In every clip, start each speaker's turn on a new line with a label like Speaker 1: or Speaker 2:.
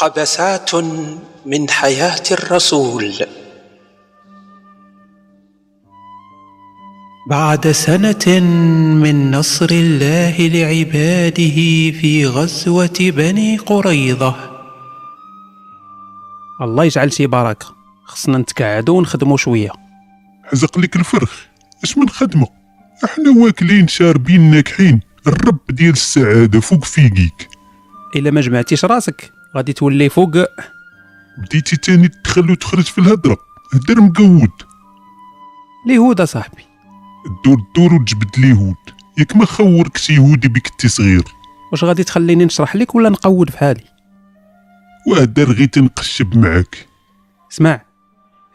Speaker 1: حبسات من حياه الرسول بعد سنه من نصر الله لعباده في غزوه بني قريظه
Speaker 2: الله يجعل شي بركه خصنا نتقعدوا ونخدموا شويه
Speaker 3: حزق لك الفرخ اش من خدمه احنا واكلين شاربين ناكحين الرب ديال السعاده فوق فيقيك
Speaker 2: الا ما جمعتيش راسك غادي تولي فوق
Speaker 3: بديتي تاني تدخل وتخرج في الهضره هدر مقود
Speaker 2: اليهود صاحبي
Speaker 3: الدور الدور وتجبد اليهود ياك ما خوركش يهودي بك انت صغير
Speaker 2: واش غادي تخليني نشرح لك ولا نقود في حالي
Speaker 3: وهدر غي تنقشب معاك
Speaker 2: اسمع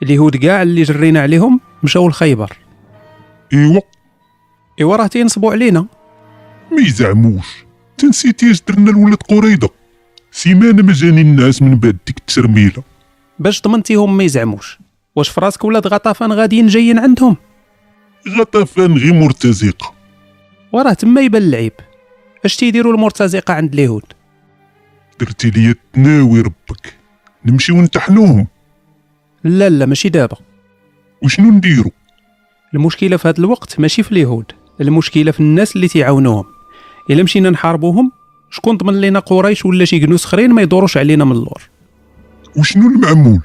Speaker 2: اليهود كاع اللي جرينا عليهم مشاو لخيبر
Speaker 3: ايوا
Speaker 2: ايوا راه تينصبوا علينا
Speaker 3: ما يزعموش تنسيتي اش درنا لولاد قريضه سيمانه ما جاني الناس من بعد ديك الترميله
Speaker 2: باش ضمنتيهم ما يزعموش واش في راسك ولاد غطافان غاديين جايين عندهم
Speaker 3: غطفان غي مرتزقه
Speaker 2: وراه تما يبان العيب اش تيديروا المرتزقه عند اليهود
Speaker 3: درتي ليا تناوي ربك نمشيو نطحنوهم
Speaker 2: لا لا ماشي دابا
Speaker 3: وشنو نديرو
Speaker 2: المشكله في هذا الوقت ماشي في اليهود المشكله في الناس اللي تيعاونوهم الا مشينا نحاربوهم شكون ضمن لينا قريش ولا شي جنوس خرين ما يدوروش علينا من اللور
Speaker 3: وشنو المعمول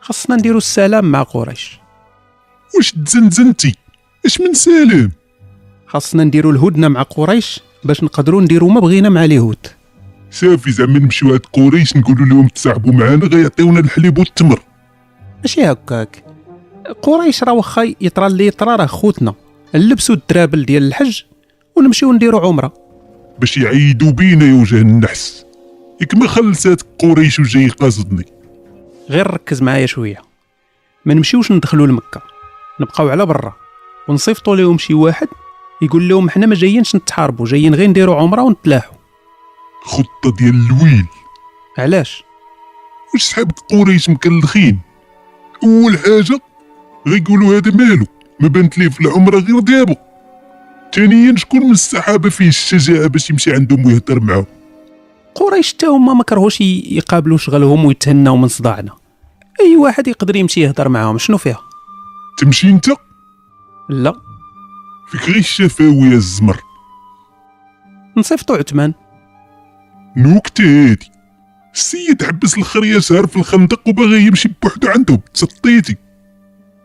Speaker 2: خاصنا نديرو السلام مع قريش
Speaker 3: واش تزنزنتي اش من سلام
Speaker 2: خاصنا نديرو الهدنه مع قريش باش نقدروا نديرو ما بغينا مع اليهود
Speaker 3: صافي زعما نمشيو عند قريش نقولوا لهم تصاحبوا معانا غيعطيونا الحليب والتمر
Speaker 2: ماشي هكاك قريش راه واخا يطرى اللي يطرى راه خوتنا نلبسو الدرابل ديال الحج ونمشيو نديرو عمره
Speaker 3: باش يعيدوا بينا يا وجه النحس ياك ما خلصات قريش وجاي قاصدني
Speaker 2: غير ركز معايا شويه ما نمشيوش ندخلوا لمكه نبقاو على برا ونصيفطوا لهم شي واحد يقول لهم حنا ما جايينش نتحاربوا جايين غير نديرو عمره ونتلاحوا
Speaker 3: خطه ديال الويل
Speaker 2: علاش
Speaker 3: واش صحاب قريش مكلخين اول حاجه غيقولوا هذا مالو ما بانت ليه في العمره غير دابو ثانيا شكون من الصحابه فيه الشجاعه باش يمشي عندهم ويهضر معاهم
Speaker 2: قريش حتى هما ما كرهوش ي- يقابلوا شغلهم ويتهناو من صداعنا اي واحد يقدر يمشي يهضر معاهم شنو فيها
Speaker 3: تمشي انت
Speaker 2: لا
Speaker 3: فيك غير الشفاوي يا الزمر
Speaker 2: نصيفطوا عثمان
Speaker 3: نوكتة هادي السيد حبس الخريه سهر في الخندق وباغي يمشي بوحدو عندهم تسطيتي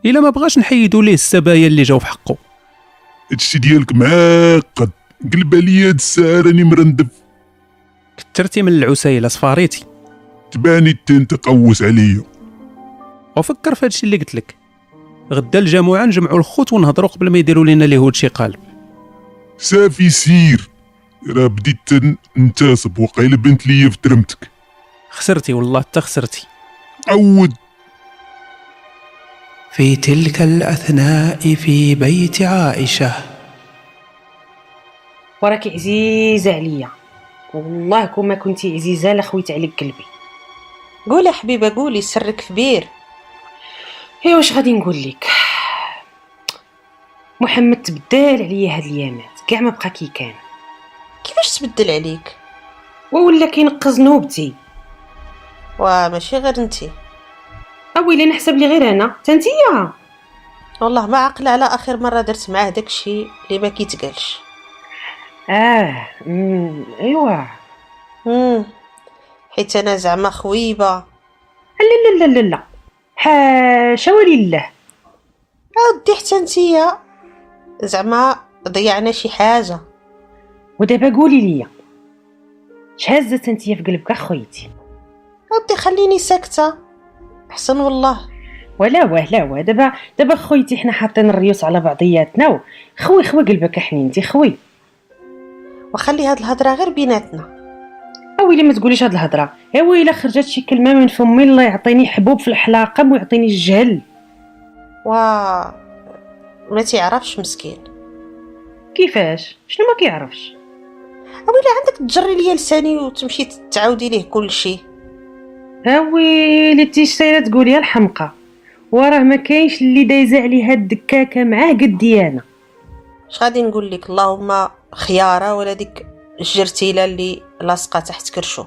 Speaker 2: الا ما بغاش نحيدوا ليه السبايا اللي جاو في حقه
Speaker 3: هادشي ديالك معقد قلب عليا هاد الساعه راني مرندب
Speaker 2: كثرتي من العسيله صفاريتي
Speaker 3: تباني تين تقوس عليا
Speaker 2: وفكر في هادشي اللي قلت لك غدا الجمعه نجمعوا الخوت ونهضروا قبل ما يديروا لنا اليهود شي قالب
Speaker 3: صافي سير راه بديت تن- ننتصب وقيل بنت ليا في درمتك
Speaker 2: خسرتي والله حتى خسرتي
Speaker 3: عود
Speaker 1: في تلك الاثناء في بيت عائشه
Speaker 4: وراك عزيزه عليا والله كون ما كنتي عزيزه لخويت عليك قلبي
Speaker 5: قولي حبيبه قولي سرك كبير
Speaker 4: اي إيه، واش غادي نقول لك محمد تبدل عليا هاد الايامات كاع ما بقى كي كان
Speaker 5: كيفاش تبدل عليك
Speaker 4: وولا كينقز نوبتي
Speaker 5: وماشي غير انتي
Speaker 4: اويلي نحسب لي غير انا تنتيا
Speaker 5: والله ما عقل على اخر مره درت معاه داكشي اللي ما كيتقالش
Speaker 4: اه امم ايوا
Speaker 5: مم، حيت انا زعما خويبه
Speaker 4: لا لا لا لا حاشا ولله
Speaker 5: اودي حتى انتيا زعما ضيعنا شي حاجه
Speaker 4: ودابا قولي ليا شهزت انتيا في قلبك اخويتي
Speaker 5: اودي خليني ساكته احسن والله
Speaker 4: ولا واه لا واه دابا دابا خويتي حنا حاطين الريوس على بعضياتنا و- خوي خوي قلبك حنينتي خوي
Speaker 5: وخلي هاد الهضره غير بيناتنا
Speaker 4: اويلي ما تقوليش هاد الهضره اويلي الا خرجت شي كلمه من فمي الله يعطيني حبوب في الحلاقه ويعطيني الجهل
Speaker 5: و ما تيعرفش مسكين
Speaker 4: كيفاش شنو ما كيعرفش
Speaker 5: اويلي عندك تجري ليا لساني وتمشي تعاودي ليه كل شيء
Speaker 4: اويلي انتي سايره تقولي يا الحمقى وراه ما كاينش اللي دايزه عليها الدكاكه معاه قدي انا
Speaker 5: اش غادي نقول لك اللهم خياره ولا ديك الجرتيله اللي لاصقه تحت كرشو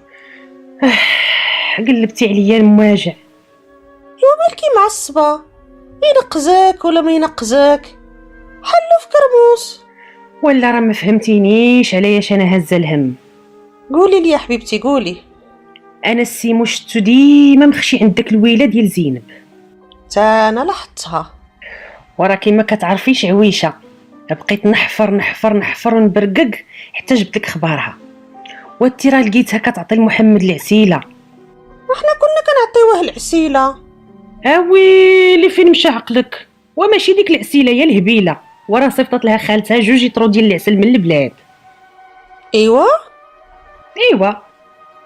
Speaker 4: قلبتي عليا المواجع
Speaker 5: مالكي معصبة ينقزك ولا ما ينقزك حلو في كرموس
Speaker 4: ولا راه ما فهمتينيش علاش انا هزه الهم
Speaker 5: قولي لي يا حبيبتي قولي
Speaker 4: انا السي مشتو ديما مخشي عند داك الويله ديال زينب
Speaker 5: تا انا لاحظتها
Speaker 4: وراه كيما كتعرفيش عويشه بقيت نحفر نحفر نحفر ونبرقق حتى جبت لك خبارها وانتي راه لقيتها كتعطي لمحمد العسيله
Speaker 5: احنا كنا كنعطيوه العسيلة
Speaker 4: اوي اللي "آه فين مشى عقلك وماشي ديك العسيله هي الهبيله وراه صيفطت لها خالتها جوج يطرو ديال العسل من البلاد
Speaker 5: ايوا
Speaker 4: ايوا "أيوة.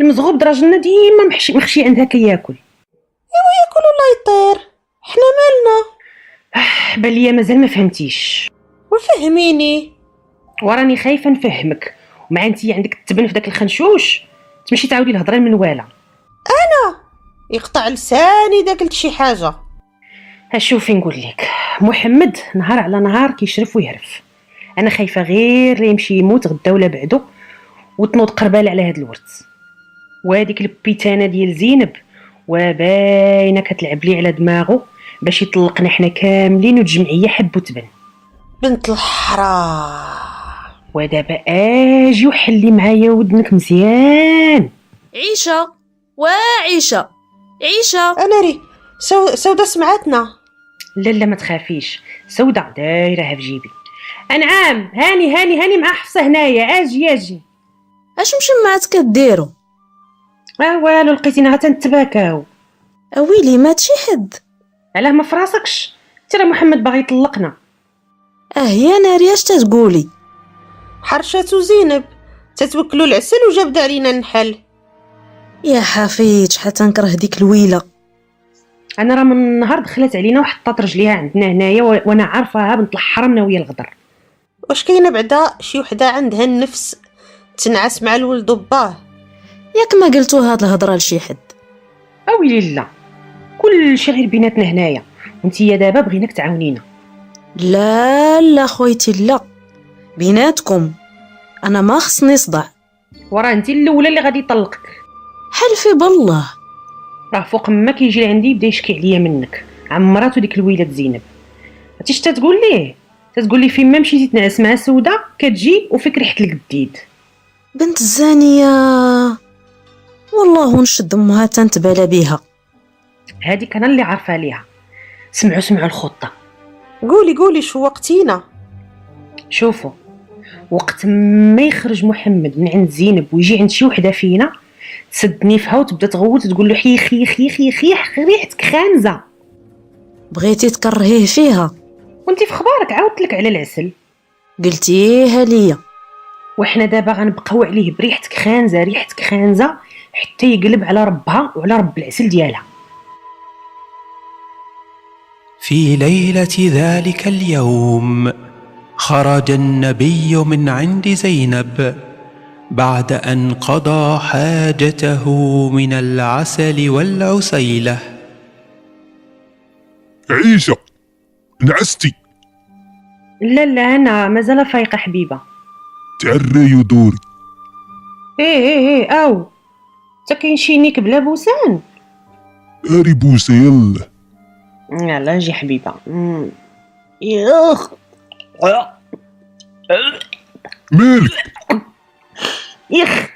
Speaker 4: المزغوب دراجلنا ديما محشي مخشي عندها كياكل
Speaker 5: ياكل ولا يطير حنا مالنا
Speaker 4: بان ليا مازال ما فهمتيش
Speaker 5: وفهميني
Speaker 4: وراني خايفه نفهمك ومع انتي عندك التبن في داك الخنشوش تمشي تعاودي الهضره المنواله
Speaker 5: يقطع لساني داك لشي حاجة
Speaker 4: ها شوفي نقول لك محمد نهار على نهار كيشرف ويهرف انا خايفه غير لا يمشي يموت غدا ولا بعدو وتنوض قربال على هاد الورث وهاديك البيتانه ديال زينب وباينه كتلعب لي على دماغه باش يطلقنا حنا كاملين والجمعيه حب وتبن
Speaker 5: بنت الحرام
Speaker 4: ودابا اجي وحلي معايا ودنك مزيان
Speaker 6: عيشة وعيشة عيشة
Speaker 5: انا ري سو... سودا سمعتنا
Speaker 4: لا لا ما تخافيش سودة دايرها في جيبي انعام هاني هاني هاني مع حفصه هنايا اجي اجي
Speaker 6: اش مشمعات كديروا
Speaker 4: اه والو لقيتينا تنتباكاو
Speaker 6: اويلي مات شي حد
Speaker 4: علاه ما فراسكش ترى محمد باغي يطلقنا
Speaker 6: اه يا ناري اش تتقولي
Speaker 5: حرشات وزينب تتوكلوا العسل وجبد علينا نحل
Speaker 6: يا حفيد شحال تنكره ديك الويله
Speaker 4: انا راه من النهار دخلت علينا وحطات رجليها عندنا هنايا و- وانا عارفاها بنت الحرام ويا الغدر
Speaker 5: واش كاينه بعدا شي وحده عندها النفس تنعس مع الولد وباه
Speaker 6: ياك ما قلتو هاد الهضره لشي حد
Speaker 4: اويلي آه، لا كلشي غير بيناتنا هنايا وانتي دابا بغيناك تعاونينا
Speaker 6: لا لا خويتي لا بيناتكم انا ما خصني صداع
Speaker 4: وراه انتي الاولى اللي غادي يطلقك
Speaker 6: حلفي بالله
Speaker 4: راه فوق ما كيجي عندي يبدا يشكي عليا منك عمراتو ديك الويلات زينب عرفتي شتا تقول ليه تتقول لي فين ما مشيتي تنعس مع سوده كتجي وفيك ريحه القديد
Speaker 6: بنت الزانيه والله نشد امها تنتبالى بيها
Speaker 4: هذيك انا اللي عارفه ليها سمعوا سمعوا الخطه
Speaker 5: قولي قولي شو وقتينا
Speaker 4: شوفوا وقت ما يخرج محمد من عند زينب ويجي عند شي وحده فينا تسدني فيها وتبدا تغوت وتقول له حي خي خي خي خي ريحتك خانزه
Speaker 6: بغيتي تكرهيه فيها
Speaker 4: وانت في خبارك عاودت لك على العسل
Speaker 6: قلتيها ليا
Speaker 4: وحنا دابا غنبقاو عليه بريحتك خانزه ريحتك خانزه حتى يقلب على ربها وعلى رب العسل ديالها
Speaker 2: في ليلة ذلك اليوم خرج النبي من عند زينب بعد أن قضى حاجته من العسل والعسيلة
Speaker 3: عيشه نعستي
Speaker 4: لا لا انا مازال فايقه حبيبه
Speaker 3: تعري دوري
Speaker 4: ايه ايه ايه او تا كاين شي نيك بلا بوسان
Speaker 3: اري بوسه يلا
Speaker 4: يلا جي حبيبه مم. يخ
Speaker 3: مالك
Speaker 4: يخ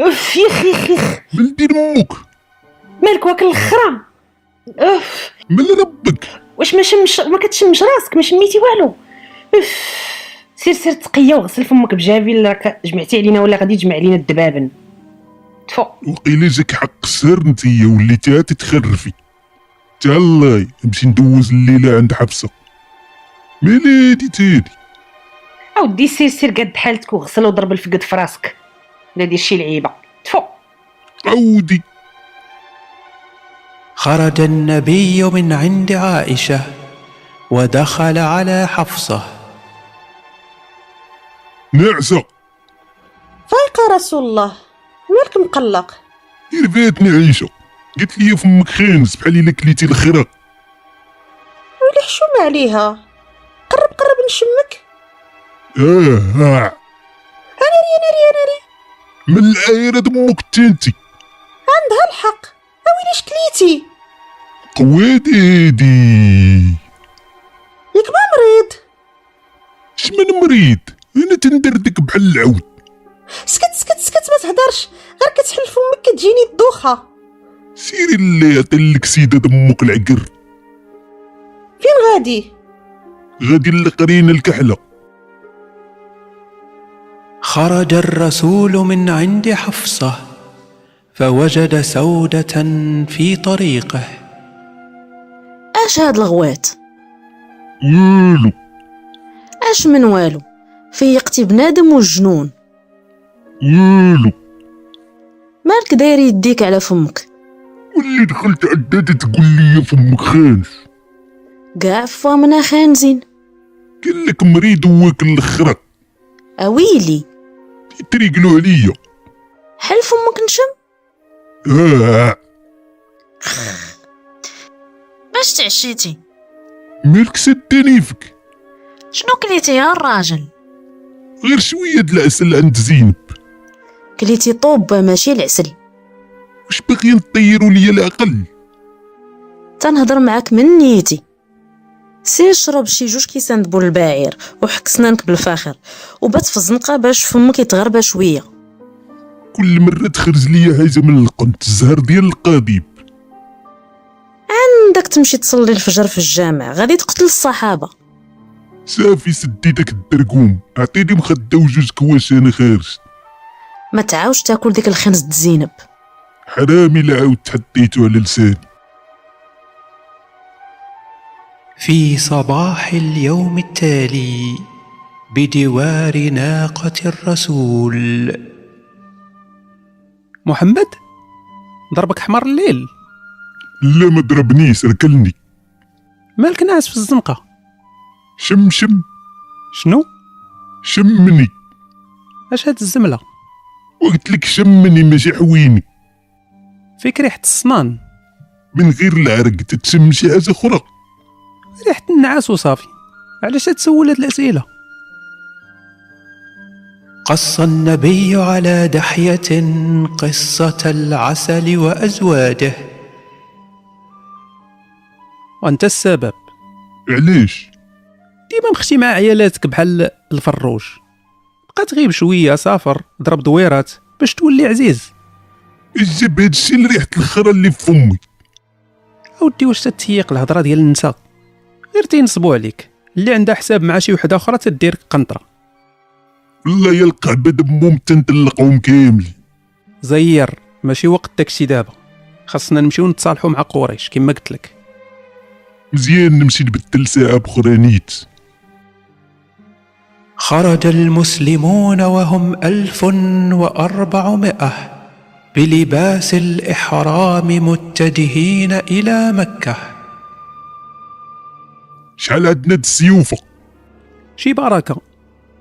Speaker 4: اف يخ يخ يخ
Speaker 3: من دين امك
Speaker 4: مالك واكل الخرا اف
Speaker 3: من ربك
Speaker 4: واش ما شمش ما كتشمش راسك ما شميتي والو اف سير سير تقيا وغسل فمك بجافيل راك جمعتي علينا ولا غادي تجمع علينا الدبابن تفو
Speaker 3: وقيل جاك حق سر نتيا وليتها تتخرفي تهلاي نمشي ندوز الليله عند حبسه ميلادي تاني
Speaker 4: اودي سير سير قد حالتك وغسل وضرب الفقد في راسك لا دير شي لعيبه تفو
Speaker 3: عودي
Speaker 2: خرج النبي من عند عائشة ودخل على حفصة
Speaker 3: نعسه
Speaker 5: فايقه رسول الله مالك مقلق
Speaker 3: غير فاتني عيشه قالت لي فمك خانز بحال الا كليتي الخرا
Speaker 5: ولي حشومه عليها قرب قرب نشمك
Speaker 3: اه اه
Speaker 5: انا ري انا ري انا ري
Speaker 3: من العايره دمك تنتي
Speaker 5: عندها الحق ويلي شكليتي
Speaker 3: قوات ايدي
Speaker 5: ياك ما مريض
Speaker 3: شمن مريض انا تندردك بحال العود
Speaker 5: سكت سكت سكت ما تهدرش غير كتحل فمك كتجيني الدوخه
Speaker 3: سيري اللي يعطيلك سيدة دمك العقر
Speaker 5: فين غادي
Speaker 3: غادي لقرينا الكحلة
Speaker 2: خرج الرسول من عند حفصه فوجد سوده في طريقه
Speaker 6: اش هاد الغوات
Speaker 3: والو
Speaker 6: اش من والو فيقتي بنادم والجنون
Speaker 3: والو
Speaker 6: مالك داير يديك على فمك
Speaker 3: واللي دخلت عداد تقول لي فمك خانس
Speaker 6: كاع فمنا خانزين
Speaker 3: قال لك مريض واك الاخرى
Speaker 6: اويلي
Speaker 3: تريقلو عليا
Speaker 6: حل فمك نشم
Speaker 3: آه
Speaker 6: باش تعشيتي
Speaker 3: مالك سداني فيك
Speaker 6: شنو كليتي يا الراجل
Speaker 3: غير شوية د العسل عند زينب
Speaker 6: كليتي طوبة ماشي العسل
Speaker 3: واش باغيين طيروا ليا العقل
Speaker 6: تنهضر معاك من نيتي سير شرب شي جوج كيسان دبول البعير وحك سنانك بالفاخر وبات في الزنقه باش فمك يتغربى شويه
Speaker 3: كل مرة تخرج ليا حاجة من القنت الزهر ديال القضيب
Speaker 6: عندك تمشي تصلي الفجر في الجامع غادي تقتل الصحابه
Speaker 3: صافي سدي داك الدرقوم عطيني مخدة وجوج كواش انا خارج
Speaker 6: ما تعاوش تاكل ديك الخنز د زينب
Speaker 3: حرامي لا عاود حطيتو على لساني
Speaker 2: في صباح اليوم التالي بجوار ناقه الرسول
Speaker 7: محمد ضربك حمار الليل
Speaker 3: لا ما ضربنيش ركلني
Speaker 7: مالك ناعس في الزنقه
Speaker 3: شم شم
Speaker 7: شنو
Speaker 3: شمني
Speaker 7: اش هاد الزمله
Speaker 3: وقلت لك شمني ماشي حويني
Speaker 7: فيك ريحه الصنان
Speaker 3: من غير العرق تتشم شي حاجه اخرى
Speaker 7: ريحه النعاس وصافي علاش تسول هاد الاسئله
Speaker 2: قص النبي على دحيه قصه العسل وازواجه
Speaker 7: وانت السبب
Speaker 3: علاش
Speaker 7: ديما مختي مع عيالاتك بحال الفروج بقى تغيب شويه سافر ضرب دويرات باش تولي عزيز
Speaker 3: اش جاب هادشي لريحه الخرا اللي في فمي
Speaker 7: اودي واش تتيق الهضره ديال النساء غير تينصبوا عليك اللي عندها حساب مع شي وحده اخرى تدير قنطره
Speaker 3: والله يا القعبه دمهم تنطلقهم كامل
Speaker 7: زير ماشي وقت داكشي دابا خاصنا نمشيو نتصالحوا مع قريش كما قلت لك
Speaker 3: مزيان نمشي نبدل ساعه بخرى نيت
Speaker 2: خرج المسلمون وهم ألف وأربعمائة بلباس الإحرام متجهين إلى مكة
Speaker 3: شحال عندنا د السيوفه
Speaker 7: شي بركه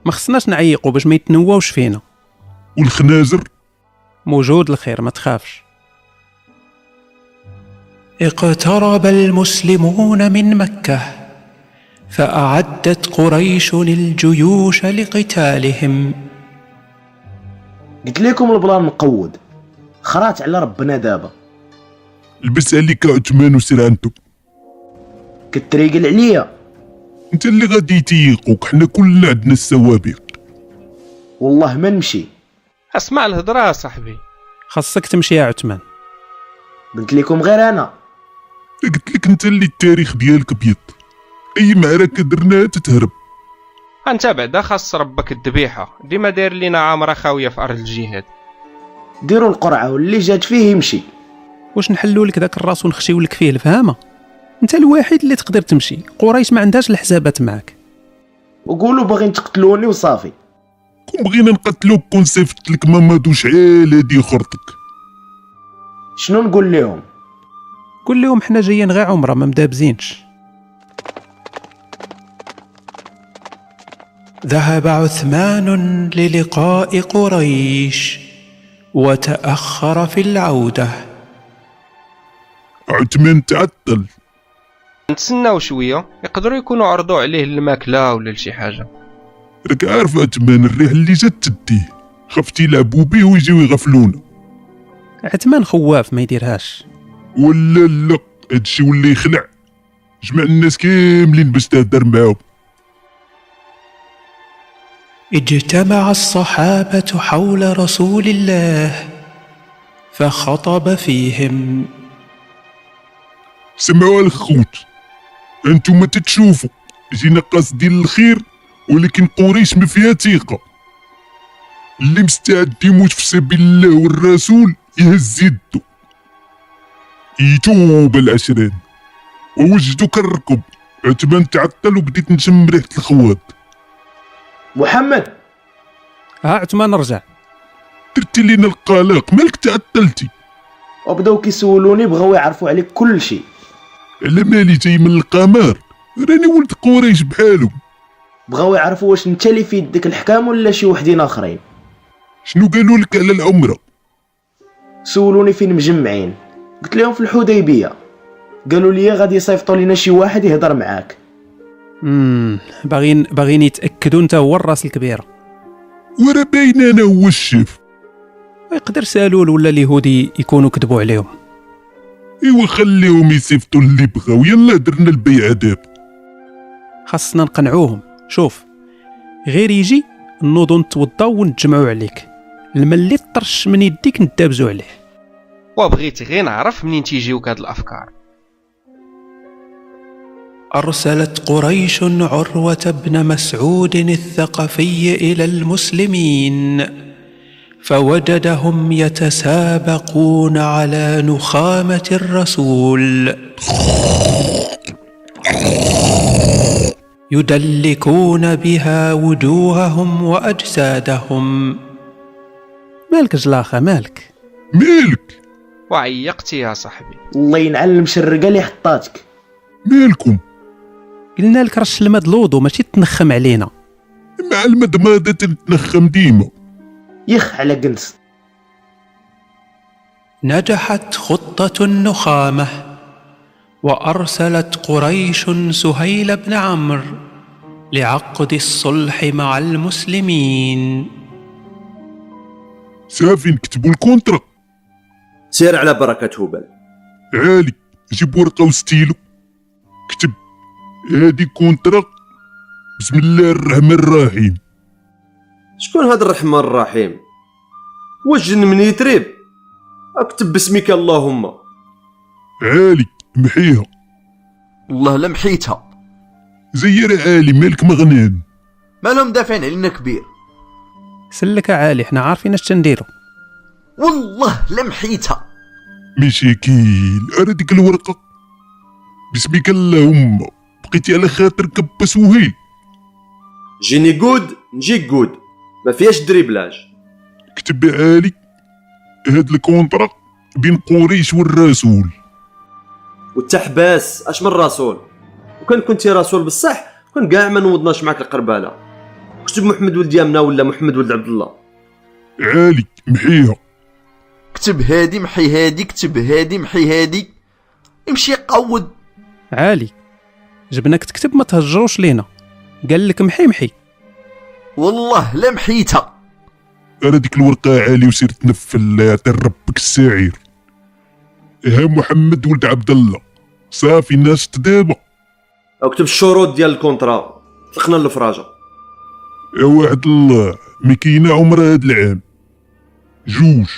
Speaker 7: ما خصناش نعيقوا باش ما يتنواوش فينا
Speaker 3: والخنازر
Speaker 7: موجود الخير ما تخافش
Speaker 2: اقترب المسلمون من مكة فأعدت قريش الجيوش لقتالهم
Speaker 8: قلت لكم البلان مقود خرات على ربنا دابا
Speaker 3: لبس عليك عثمان وسرعانته
Speaker 8: كتريقل عليا
Speaker 3: انت اللي غادي تيقوك حنا كلنا عندنا السوابق
Speaker 8: والله ما نمشي
Speaker 9: اسمع الهضره يا صاحبي
Speaker 7: خاصك تمشي يا عثمان
Speaker 8: قلت لكم غير انا
Speaker 3: قلت لك انت اللي التاريخ ديالك بيض اي معركه درناها تتهرب
Speaker 9: انت بعدا خاص ربك الذبيحه ديما داير لينا عامره خاويه في ارض الجهاد
Speaker 8: ديروا القرعه واللي جات فيه يمشي
Speaker 7: واش نحلوا لك داك الراس ونخشيو لك فيه الفهامه انت الوحيد اللي تقدر تمشي قريش ما عندهاش الحسابات معك
Speaker 8: وقولوا باغيين تقتلوني وصافي
Speaker 3: كون بغينا نقتلوك كون صيفط لك مامادو شحال هادي خرطك
Speaker 8: شنو نقول لهم
Speaker 7: قول لهم حنا جايين غير عمره ما مدابزينش
Speaker 2: ذهب عثمان للقاء قريش وتأخر في العودة
Speaker 3: عثمان تعطل
Speaker 9: نتسناو شويه يقدروا يكونوا عرضوا عليه الماكله ولا لشي حاجه
Speaker 3: راك عارف عثمان الريح اللي جات تديه خفتي يلعبوا بيه ويجيو يغفلونا
Speaker 7: عثمان خواف ما يديرهاش
Speaker 3: ولا لا هادشي ولا يخلع جمع الناس كاملين باش تهدر معاهم
Speaker 2: اجتمع الصحابة حول رسول الله فخطب فيهم
Speaker 3: سمعوا الخوت انتم تتشوفوا جينا قاصدين الخير ولكن قريش ما فيها ثقه اللي مستعد يموت في سبيل الله والرسول يهز يده يتوب العشرين ووجدوا كالركب عتبان تعطل وبديت نشم ريحه الخواط
Speaker 8: محمد
Speaker 7: ها عثمان رجع
Speaker 3: درتي لينا القلق مالك تعطلتي
Speaker 8: وبداو كيسولوني بغاو يعرفوا عليك كل شيء
Speaker 3: على مالي جاي من القمر راني ولد قريش بحالهم
Speaker 8: بغاو يعرفوا واش انت اللي في يدك الحكام ولا شي وحدين اخرين
Speaker 3: شنو قالوا لك على العمره
Speaker 8: سولوني فين مجمعين قلت لهم في الحديبيه قالوا لي غادي يصيفطوا لينا شي واحد يهضر معاك
Speaker 7: امم باغيين باغيين يتاكدوا انت هو الراس الكبير
Speaker 3: ورا باين انا هو الشيف
Speaker 7: يقدر سالول ولا اليهودي يكونوا كذبوا عليهم
Speaker 3: ايوا خليهم يسيفطوا اللي بغاو يلا درنا البيعه دابا
Speaker 7: خاصنا نقنعوهم شوف غير يجي نوضو نتوضاو ونتجمعوا عليك الماء اللي طرش من يديك ندابزو عليه
Speaker 9: وبغيت غير نعرف منين تيجيوك هاد الافكار
Speaker 2: أرسلت قريش عروة بن مسعود الثقفي إلى المسلمين فوجدهم يتسابقون على نخامة الرسول يدلكون بها وجوههم وأجسادهم
Speaker 7: مالك جلاخه مالك
Speaker 3: مالك
Speaker 9: وعيقتي يا صاحبي
Speaker 8: الله ينعل المشرقه اللي حطاتك
Speaker 3: مالكم
Speaker 7: قلنا لك رش الماء الوضو ماشي تنخم علينا
Speaker 3: مع المدمادة تنخم ديما
Speaker 8: يخ على قنص
Speaker 2: نجحت خطة النخامة وأرسلت قريش سهيل بن عمرو لعقد الصلح مع المسلمين
Speaker 3: صافي نكتبوا الكونترا
Speaker 10: سير على بركة هبل
Speaker 3: عالي جيب ورقة وستيلو كتب هادي كونترا بسم الله الرحمن الرحيم
Speaker 10: شكون هذا الرحمن الرحيم واش جن من يتريب اكتب باسمك اللهم
Speaker 3: عالي محيها
Speaker 11: والله لا محيتها
Speaker 3: زير عالي مالك مغنان
Speaker 11: ما لهم دافعين علينا كبير
Speaker 7: سلك عالي حنا عارفين اش تنديرو
Speaker 11: والله لا محيتها
Speaker 3: مشاكيل أرى ديك الورقة بسمك اللهم بقيتي على خاطر كبس وهيل
Speaker 10: جيني جود نجي جود ما فيهاش دريبلاج
Speaker 3: كتب عالي هاد الكونترا بين قريش والرسول
Speaker 10: والتحباس اش من رسول وكان كنتي رسول بصح كان كاع ما نوضناش معاك القربانه كتب محمد ولد يامنا ولا محمد ولد عبد الله
Speaker 3: عالي محيها
Speaker 11: كتب هادي محي هادي كتب هادي محي هادي يمشي يقود
Speaker 7: عالي جبناك تكتب ما تهجروش لينا قال لك محي محي
Speaker 11: والله لا محيتها
Speaker 3: أرى ديك الورقة عالي وسير تنفل يعطي ربك السعير ها محمد ولد عبد الله صافي الناس تدابا
Speaker 10: او كتب الشروط ديال الكونترا طلقنا الفراجه
Speaker 3: يا وعد الله ما كاينه عمرها هاد العام جوج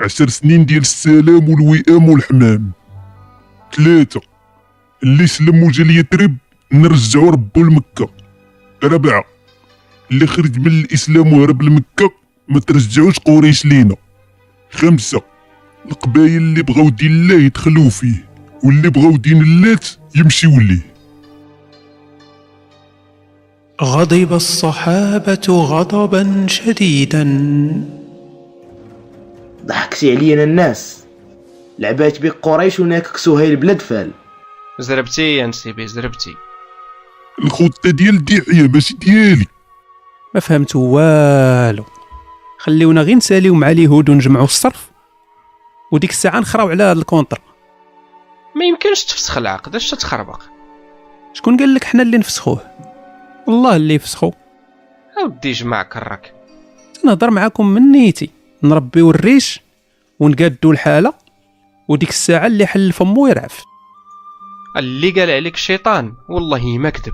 Speaker 3: عشر سنين ديال السلام والوئام والحمام ثلاثة اللي سلم وجا ليترب نرجعو ربو لمكة ربعة اللي خرج من الإسلام وهرب لمكة ما ترجعوش قريش لينا خمسة القبايل اللي بغاو دين الله يدخلوا فيه واللي بغاو دين اللات يمشيو ليه
Speaker 2: غضب الصحابة غضبا شديدا
Speaker 8: ضحكتي علينا الناس لعبات بك قريش وناكك سهيل بلا دفال
Speaker 9: زربتي يا نسيبي زربتي
Speaker 3: الخطة ديال ديعية ماشي ديالي
Speaker 7: ما فهمت والو خليونا غير نساليو مع اليهود ونجمعوا الصرف وديك الساعه نخراو على هاد الكونتر
Speaker 9: ما يمكنش تفسخ العقد اش تتخربق
Speaker 7: شكون قال لك حنا اللي نفسخوه والله اللي يفسخو
Speaker 9: اودي جمع كرك
Speaker 7: تنهضر معاكم من نيتي نربيو الريش ونقادو الحاله وديك الساعه اللي حل فمو يرعف
Speaker 9: اللي قال عليك الشيطان والله ما كذب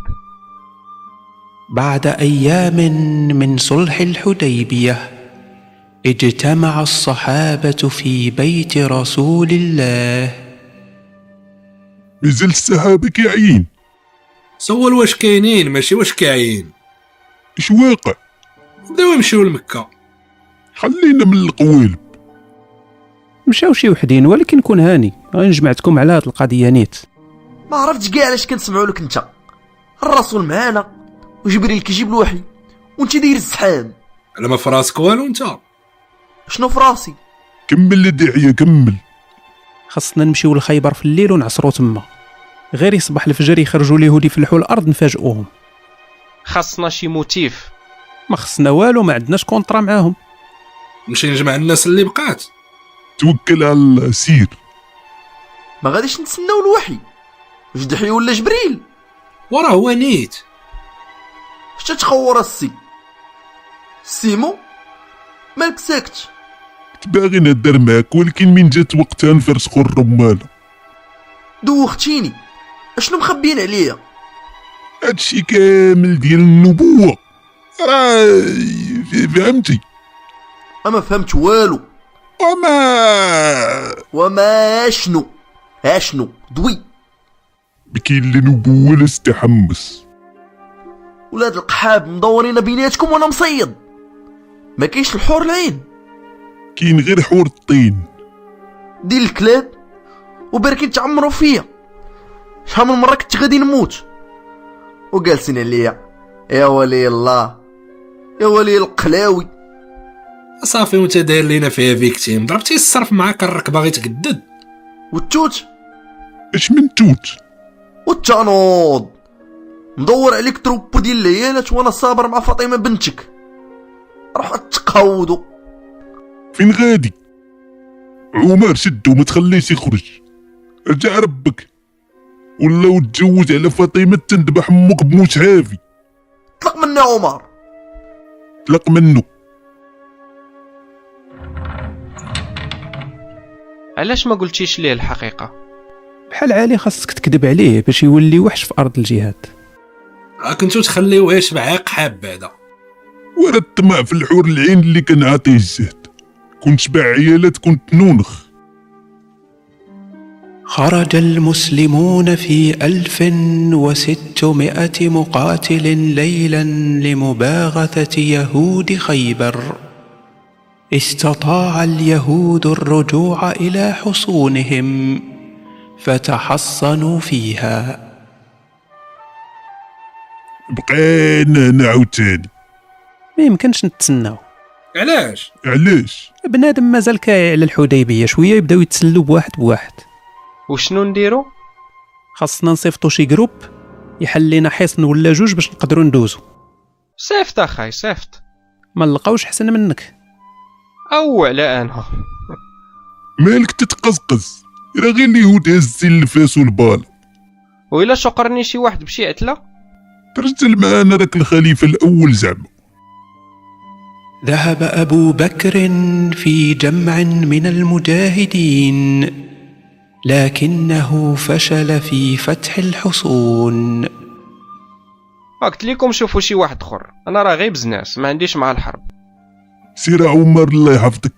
Speaker 2: بعد ايام من صلح الحديبيه اجتمع الصحابه في بيت رسول الله
Speaker 3: مازال الصحابه كاعيين
Speaker 12: سول واش كاينين ماشي واش كاعيين
Speaker 3: اش واقع
Speaker 12: بداو يمشيو لمكه
Speaker 3: خلينا من القوالب
Speaker 7: مشاو شي وحدين ولكن كون هاني غادي نجمعتكم على هاد القضيه نيت
Speaker 11: ما عرفتش كاع علاش كنسمعوا لك انت الرسول معانا وجبريل كيجيب الوحي وانت داير الزحام
Speaker 12: على ما فراسك والو انت
Speaker 11: شنو في راسي
Speaker 3: كمل الداعيه كمل
Speaker 7: خاصنا نمشيو لخيبر في الليل ونعصرو تما غير يصبح الفجر يخرجوا اليهود يفلحوا الارض نفاجئوهم
Speaker 9: خاصنا شي موتيف
Speaker 7: ما خصنا والو ما عندناش كونطرا معاهم
Speaker 12: نمشي نجمع الناس اللي بقات
Speaker 3: توكل على الله سير
Speaker 11: ما غاديش نتسناو الوحي جدحي ولا جبريل
Speaker 12: وراه هو نيت
Speaker 11: شتا تخور السي سيمو مالك ساكت
Speaker 3: كنت باغي نهدر معاك ولكن من جات وقتها نفرسخو الرماله
Speaker 11: دوختيني اشنو مخبيين عليا
Speaker 3: هادشي كامل ديال النبوه راه ف- فهمتي
Speaker 11: اما فهمت والو
Speaker 3: وما
Speaker 11: وما شنو اشنو دوي
Speaker 3: ما كاين لا نبوه لا استحمس
Speaker 11: ولاد القحاب مدورين بيناتكم وانا مصيد ما كاينش الحور العين
Speaker 3: كاين غير حور الطين
Speaker 11: ديال الكلاب وباركين تعمروا فيا شحال من مره كنت غادي نموت وجالسين عليا يا ولي الله يا ولي القلاوي
Speaker 12: صافي وانت داير لينا فيها فيكتيم ضربتي الصرف معاك الركبه غيتقدد
Speaker 11: والتوت
Speaker 3: اش من توت
Speaker 11: والتنوض مدور عليك تروبو ديال العيالات وانا صابر مع فاطمه بنتك روح تقودو
Speaker 3: فين غادي عمر شدو ما تخليش يخرج رجع ربك ولا وتجوز على فاطمه تندبح امك بموت عافي
Speaker 11: طلق منا عمر
Speaker 3: طلق منه
Speaker 9: علاش ما قلتيش ليه الحقيقه
Speaker 7: بحال عالي خاصك تكذب عليه باش يولي وحش في ارض الجهاد
Speaker 12: راه آه، كنتو تخليوه يشبع عاق حاب بعدا
Speaker 3: ورا الطمع في الحور العين اللي كان عاطيه الزهد كنت باع عيالات كنت نونخ
Speaker 2: خرج المسلمون في ألف وستمائة مقاتل ليلا لمباغثة يهود خيبر استطاع اليهود الرجوع إلى حصونهم فتحصنوا فيها
Speaker 3: بقينا هنا عاوتاني
Speaker 7: ما يمكنش نتسناو
Speaker 12: علاش
Speaker 3: علاش
Speaker 7: بنادم مازال كايع على الحديبيه شويه يبداو يتسلوا بواحد بواحد
Speaker 9: وشنو نديرو
Speaker 7: خاصنا نصيفطو شي جروب يحل لينا حصن ولا جوج باش نقدروا ندوزو
Speaker 9: صيفط اخاي صيفط
Speaker 7: ما نلقاوش حسن منك
Speaker 9: او على انا
Speaker 3: مالك تتقزقز راه غير اليهود هازين الفاس والبال
Speaker 9: وإلا شقرني شي واحد بشي عتله
Speaker 3: ترجل معانا راك الخليفه الاول زعما
Speaker 2: ذهب أبو بكر في جمع من المجاهدين لكنه فشل في فتح الحصون
Speaker 9: آه، قلت لكم شوفوا شي واحد اخر انا راه غير بزناس ما عنديش مع الحرب
Speaker 3: سير عمر الله يحفظك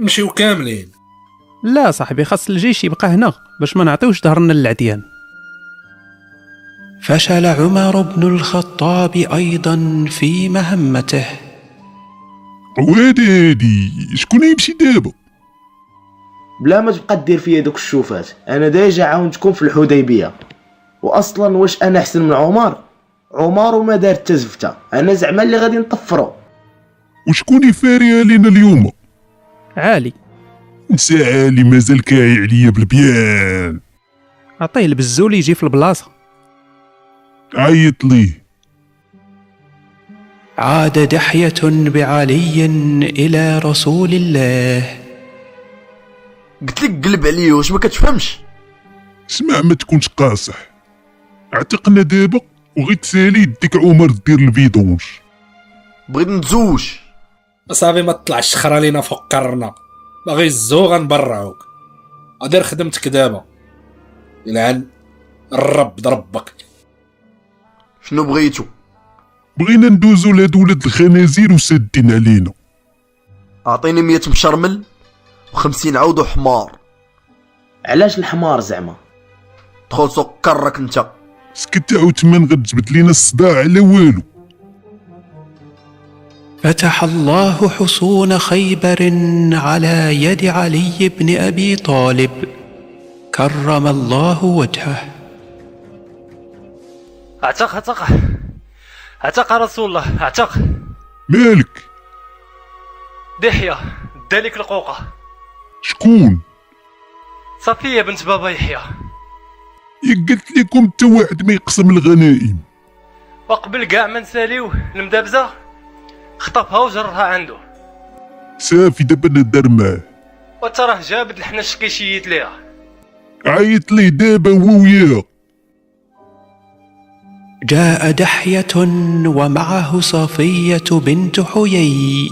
Speaker 12: نمشيو كاملين
Speaker 7: لا صاحبي خاص الجيش يبقى هنا باش ما نعطيوش ظهرنا للعديان
Speaker 2: فشل عمر بن الخطاب أيضا في مهمته
Speaker 3: وهادي هادي شكون يمشي دابا
Speaker 8: بلا ما تبقى دير فيا دوك الشوفات انا ديجا عاونتكم في الحديبيه واصلا واش انا احسن من عمر عمر وما دار حتى زفته انا زعما اللي غادي نطفرو
Speaker 3: وشكون يفاري علينا اليوم
Speaker 7: عالي
Speaker 3: نسى عالي مازال كايع عليا بالبيان
Speaker 7: عطيه البزول يجي في البلاصه
Speaker 3: عيط ليه
Speaker 2: عاد دحية بعلي إلى رسول الله
Speaker 11: قلت لك قلب عليا واش ما كتفهمش
Speaker 3: اسمع ما تكونش قاصح اعتقنا دابا وغي تسالي يديك عمر دير الفيدونج
Speaker 11: بغيت نتزوج
Speaker 12: صافي ما تطلعش خرا لينا فوق قرنا باغي الزو غنبرعوك غدير خدمتك دابا يلعن الرب ضربك
Speaker 11: شنو بغيتو
Speaker 3: بغينا ندوزو لهاد ولاد الخنازير وسادين علينا
Speaker 11: اعطيني 100 مشرمل و50 عود حمار
Speaker 8: علاش الحمار زعما
Speaker 11: دخل سوق كرك انت
Speaker 3: سكت عاوتمان غتجبد لينا الصداع على والو
Speaker 2: فتح الله حصون خيبر على يد علي بن ابي طالب كرم الله وجهه
Speaker 13: اعتق اعتق اعتق يا رسول الله اعتق
Speaker 3: مالك
Speaker 13: دحية دالك القوقة
Speaker 3: شكون
Speaker 13: صفية بنت بابا يحيى
Speaker 3: يا قلت لكم تا واحد ما يقسم الغنائم
Speaker 13: وقبل كاع ما نساليو المدابزة خطفها وجرها عنده
Speaker 3: صافي دابا انا دار معاه
Speaker 13: وتا راه جابد الحنا الشكيشيات ليها
Speaker 3: عيط ليه دابا هو وياها
Speaker 2: جاء دحيه ومعه صفيه بنت حيي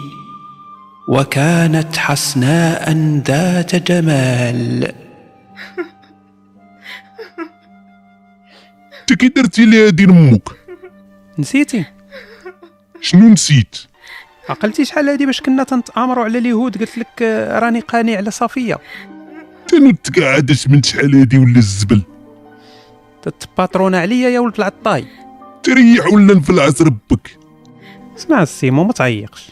Speaker 2: وكانت حسناء ذات جمال
Speaker 3: انت كي درتي لي هادي امك
Speaker 7: نسيتي
Speaker 3: شنو نسيت
Speaker 7: عقلتي شحال هادي باش كنا تنتامروا على اليهود قلت لك آه، راني قاني على صفيه
Speaker 3: تنو تقعدت من شحال هادي ولا الزبل
Speaker 7: تتباترونا عليا يا ولد العطاي
Speaker 3: تريح ولا نفلع ربك
Speaker 7: اسمع السيمو ما تعيقش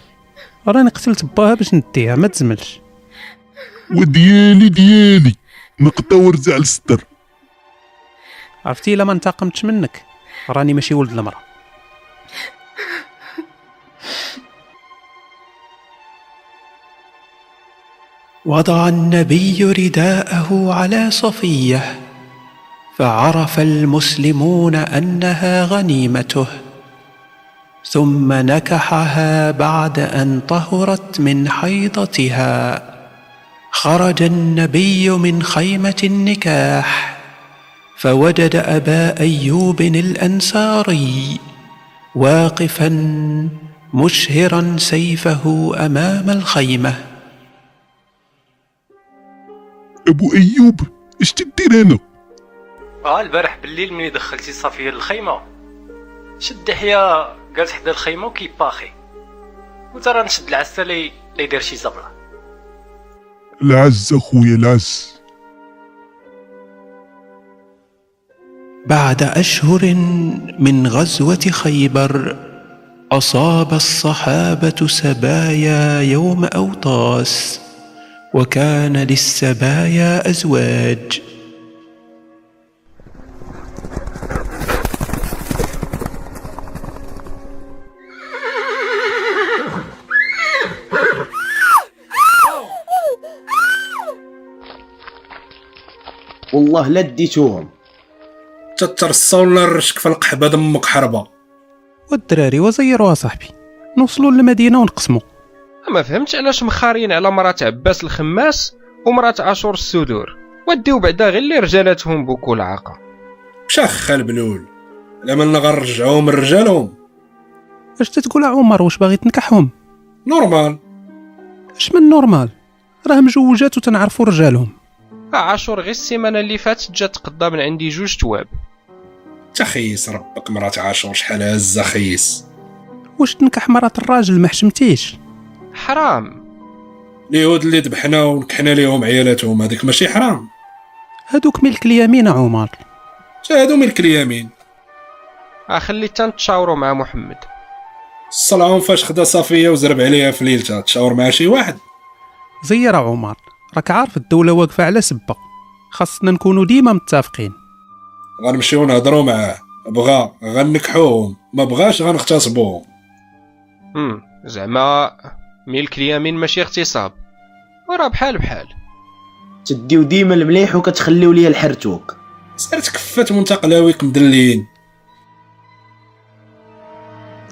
Speaker 7: راني قتلت باها باش نديها ما تزملش
Speaker 3: وديالي ديالي نقطه ورزع الستر
Speaker 7: عرفتي الا ما انتقمتش منك راني ماشي ولد المراه
Speaker 2: وضع النبي رداءه على صفيه فعرف المسلمون انها غنيمته ثم نكحها بعد ان طهرت من حيضتها خرج النبي من خيمه النكاح فوجد ابا ايوب الانصاري واقفا مشهرا سيفه امام الخيمه
Speaker 3: ابو ايوب اش تدير هنا
Speaker 13: اه البارح بالليل ملي دخلتي صفية للخيمة شد دحية جالس حدا الخيمة وكيباخي وترى نشد العسة لي لي يدير شي زبلة
Speaker 3: العز اخويا العز
Speaker 2: بعد اشهر من غزوه خيبر اصاب الصحابه سبايا يوم اوطاس وكان للسبايا ازواج
Speaker 8: والله لا ديتوهم
Speaker 12: تترصى ولا الرشك في القحبة دمك حربة
Speaker 7: والدراري وزيروها صاحبي نوصلوا للمدينه ونقسموا
Speaker 9: ما فهمتش علاش مخارين على مرات عباس الخماس ومرات اشور السدور وديو بعدا غير اللي رجالاتهم بوكو العاقه
Speaker 12: شخ البلول على من غنرجعوهم لرجالهم
Speaker 7: اش تتقول يا عمر واش باغي تنكحهم
Speaker 12: نورمال
Speaker 7: اش من نورمال راه مجوجات وتنعرفوا رجالهم
Speaker 9: آه، عاشور غير السيمانه اللي فاتت جات تقضى من عندي جوج تواب
Speaker 12: تخيس ربك مرات عاشور شحال هزة خيس
Speaker 7: واش تنكح مرات الراجل ما حشمتيش
Speaker 9: حرام
Speaker 12: اليهود اللي ذبحنا ونكحنا ليهم عيالاتهم هذيك ماشي حرام
Speaker 7: هادوك ملك اليمين يا عمر
Speaker 12: هادو ملك اليمين
Speaker 9: اخلي تنتشاوروا مع محمد
Speaker 12: الصلعون فاش خدا صفية وزرب عليها في ليلتها تشاور مع شي واحد
Speaker 7: زير يا عمر راك عارف الدوله واقفه على سبه خاصنا نكونوا ديما متفقين
Speaker 12: غنمشيو نهضروا معاه بغا غنكحوهم ما بغاش غنغتصبوهم
Speaker 9: امم زعما ملك اليمين ماشي اغتصاب وراه بحال بحال
Speaker 8: تديو ديما المليح وكتخليو ليا الحرتوك
Speaker 12: سير تكفات وانت قلاويك مدلين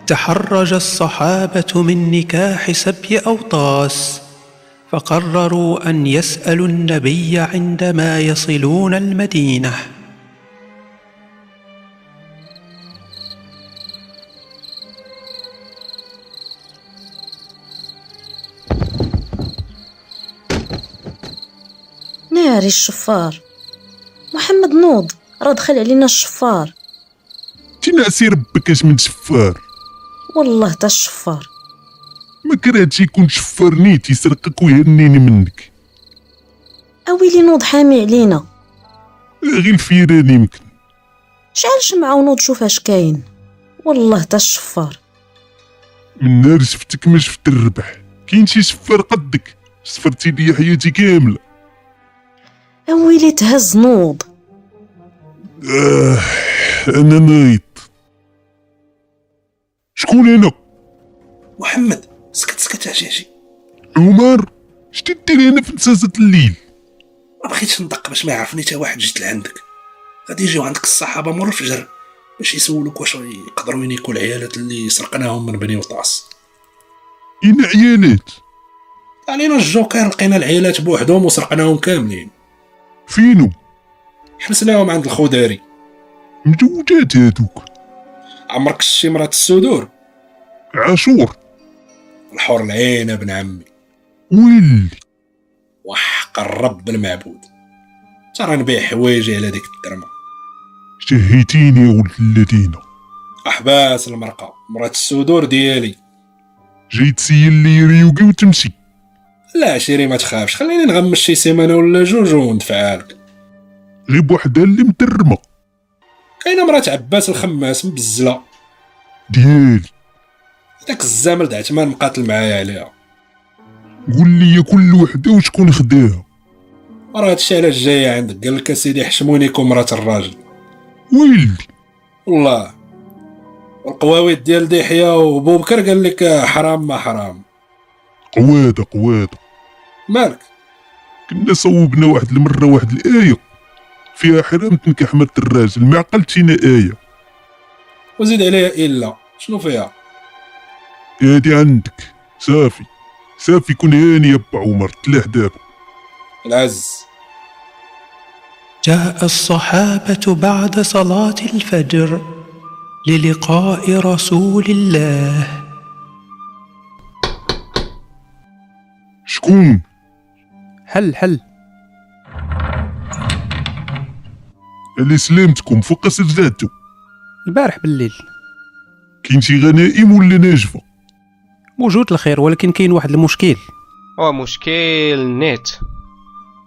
Speaker 2: تحرج الصحابة من نكاح سبي أوطاس فقرروا أن يسألوا النبي عندما يصلون المدينة
Speaker 6: ناري ناري الشفار محمد نوض راه دخل علينا الشفار
Speaker 3: تنعسي ربك اش من شفار
Speaker 6: والله تا الشفار
Speaker 3: ما كرهتش يكون شفار نيت يسرقك ويهنيني منك
Speaker 6: اويلي نوض حامي علينا
Speaker 3: غير الفيران يمكن
Speaker 6: شعل شمعة ونوض شوف اش كاين والله تا الشفار
Speaker 3: من نهار شفتك ما شفت الربح كاين شي شفار قدك سفرتي لي حياتي كامله
Speaker 6: اويلي تهز نوض
Speaker 3: آه انا نايض شكون انا
Speaker 8: محمد سكت سكت عجاجي
Speaker 3: عمر اش تدير هنا في نساسة الليل
Speaker 8: ما بغيتش ندق باش ما يعرفني حتى واحد جيت لعندك غادي يجيو عندك الصحابه مور الفجر باش يسولوك واش يقدروا ينيكوا العيالات اللي سرقناهم من بني وطاس
Speaker 3: اين عيالات
Speaker 8: علينا الجوكر لقينا العيالات بوحدهم وسرقناهم كاملين
Speaker 3: فينو
Speaker 8: حبسناهم عند الخداري
Speaker 3: مزوجات هادوك
Speaker 8: عمرك شتي مرات السدور
Speaker 3: عاشور
Speaker 8: الحور العين ابن عمي
Speaker 3: ويلي
Speaker 8: وحق الرب المعبود ترى نبيع حوايجي على ديك الدرمه
Speaker 3: شهيتيني يا ولد الذين
Speaker 8: احباس المرقه مرات السدور ديالي
Speaker 3: جاي تسيل لي ريوكي وتمشي
Speaker 8: لا عشيري ما تخافش خليني نغمس شي سيمانه ولا جوج وندفعها لك
Speaker 3: غير بوحدها اللي مترمه
Speaker 8: كاينه مرات عباس الخماس مبزله
Speaker 3: ديالي
Speaker 8: داك الزامل دعتمان مقاتل معايا عليها
Speaker 3: قول لي كل وحده وشكون خداها
Speaker 8: راه هادشي علاش جايه عندك قال لك اسيدي حشمونيكم مراه الراجل
Speaker 3: ويلي
Speaker 8: والله والقواويت ديال ديحيا وبوبكر قال لك حرام ما حرام
Speaker 3: قواده قواده
Speaker 8: مالك
Speaker 3: كنا صوبنا واحد المره واحد الايه فيها حرام تنكح مرت الراجل ما عقلتينا ايه
Speaker 8: وزيد عليها الا شنو فيها
Speaker 3: هادي عندك صافي صافي كون هاني يا با عمر تلاح دابا
Speaker 8: العز
Speaker 14: جاء الصحابة بعد صلاة الفجر للقاء رسول الله
Speaker 3: شكون
Speaker 2: حل حل
Speaker 3: على سلامتكم فوق سجادته
Speaker 2: البارح بالليل
Speaker 3: كاين شي غنائم ولا ناجفه
Speaker 2: موجود الخير ولكن كاين واحد المشكل
Speaker 9: هو مشكل نيت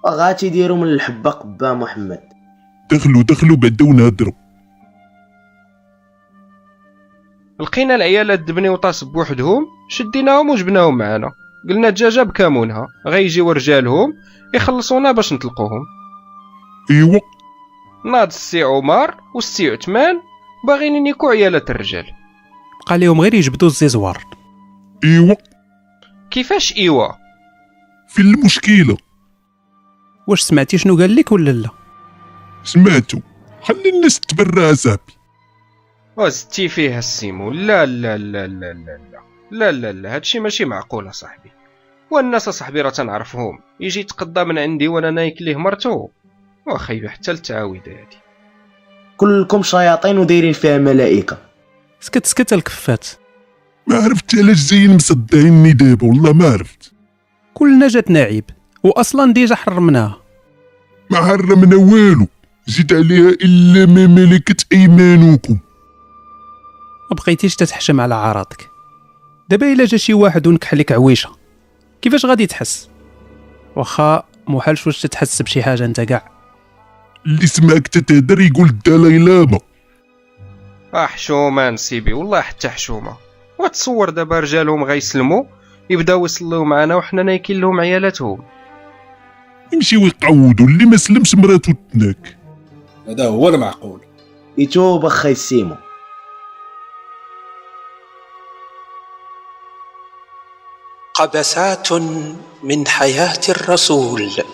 Speaker 15: وغاتي يديروا من الحبه قبه محمد
Speaker 3: دخلوا دخلوا بعدا ونهضروا
Speaker 9: لقينا العيالات دبني وطاس بوحدهم شديناهم وجبناهم معانا قلنا دجاجه بكامونها غيجيو رجالهم يخلصونا باش نطلقوهم
Speaker 3: ايوا
Speaker 9: ناض السي عمر والسي عثمان باغيين ينيكو عيالات الرجال
Speaker 2: بقى ليهم غير يجبدوا الزيزوار
Speaker 3: ايوا
Speaker 9: كيفاش ايوا
Speaker 3: أيوة. في المشكله
Speaker 2: واش سمعتي شنو قال لك ولا لا
Speaker 3: سمعتو خلي الناس تبرع صاحبي
Speaker 9: وزتي فيها السيمو لا لا لا لا لا لا لا لا لا هادشي ماشي معقول اصاحبي والناس اصاحبي راه تنعرفهم يجي يتقضى من عندي وانا نايك ليه مرتو واخيو حتى التعاويده هادي
Speaker 15: كلكم شياطين ودايرين فيها ملائكه
Speaker 2: سكت سكت الكفات
Speaker 3: ما عرفت علاش زين مصدعيني دابا والله ما عرفت
Speaker 2: كلنا جات نعيب واصلا ديجا حرمناها
Speaker 3: ما حرمنا والو زيد عليها الا ما ملكت ايمانكم
Speaker 2: ما بقيتيش تتحشم على عراضك دابا الا جا شي واحد ونكح لك عويشه كيفاش غادي تحس واخا محالش واش تتحس بشي حاجه انت كاع
Speaker 3: اللي سمعك تتهدر يقول الدلاي لاما
Speaker 9: اه حشومه نسيبي والله حتى حشومه وتصور دابا رجالهم غيسلموا يبداو يصليو معانا وحنا نايكين لهم عيالاتهم
Speaker 3: يمشيو يقعودوا اللي ما سلمش مراتو تناك
Speaker 8: هذا هو المعقول
Speaker 15: يتوب اخا يسيمو
Speaker 14: قبسات من حياة الرسول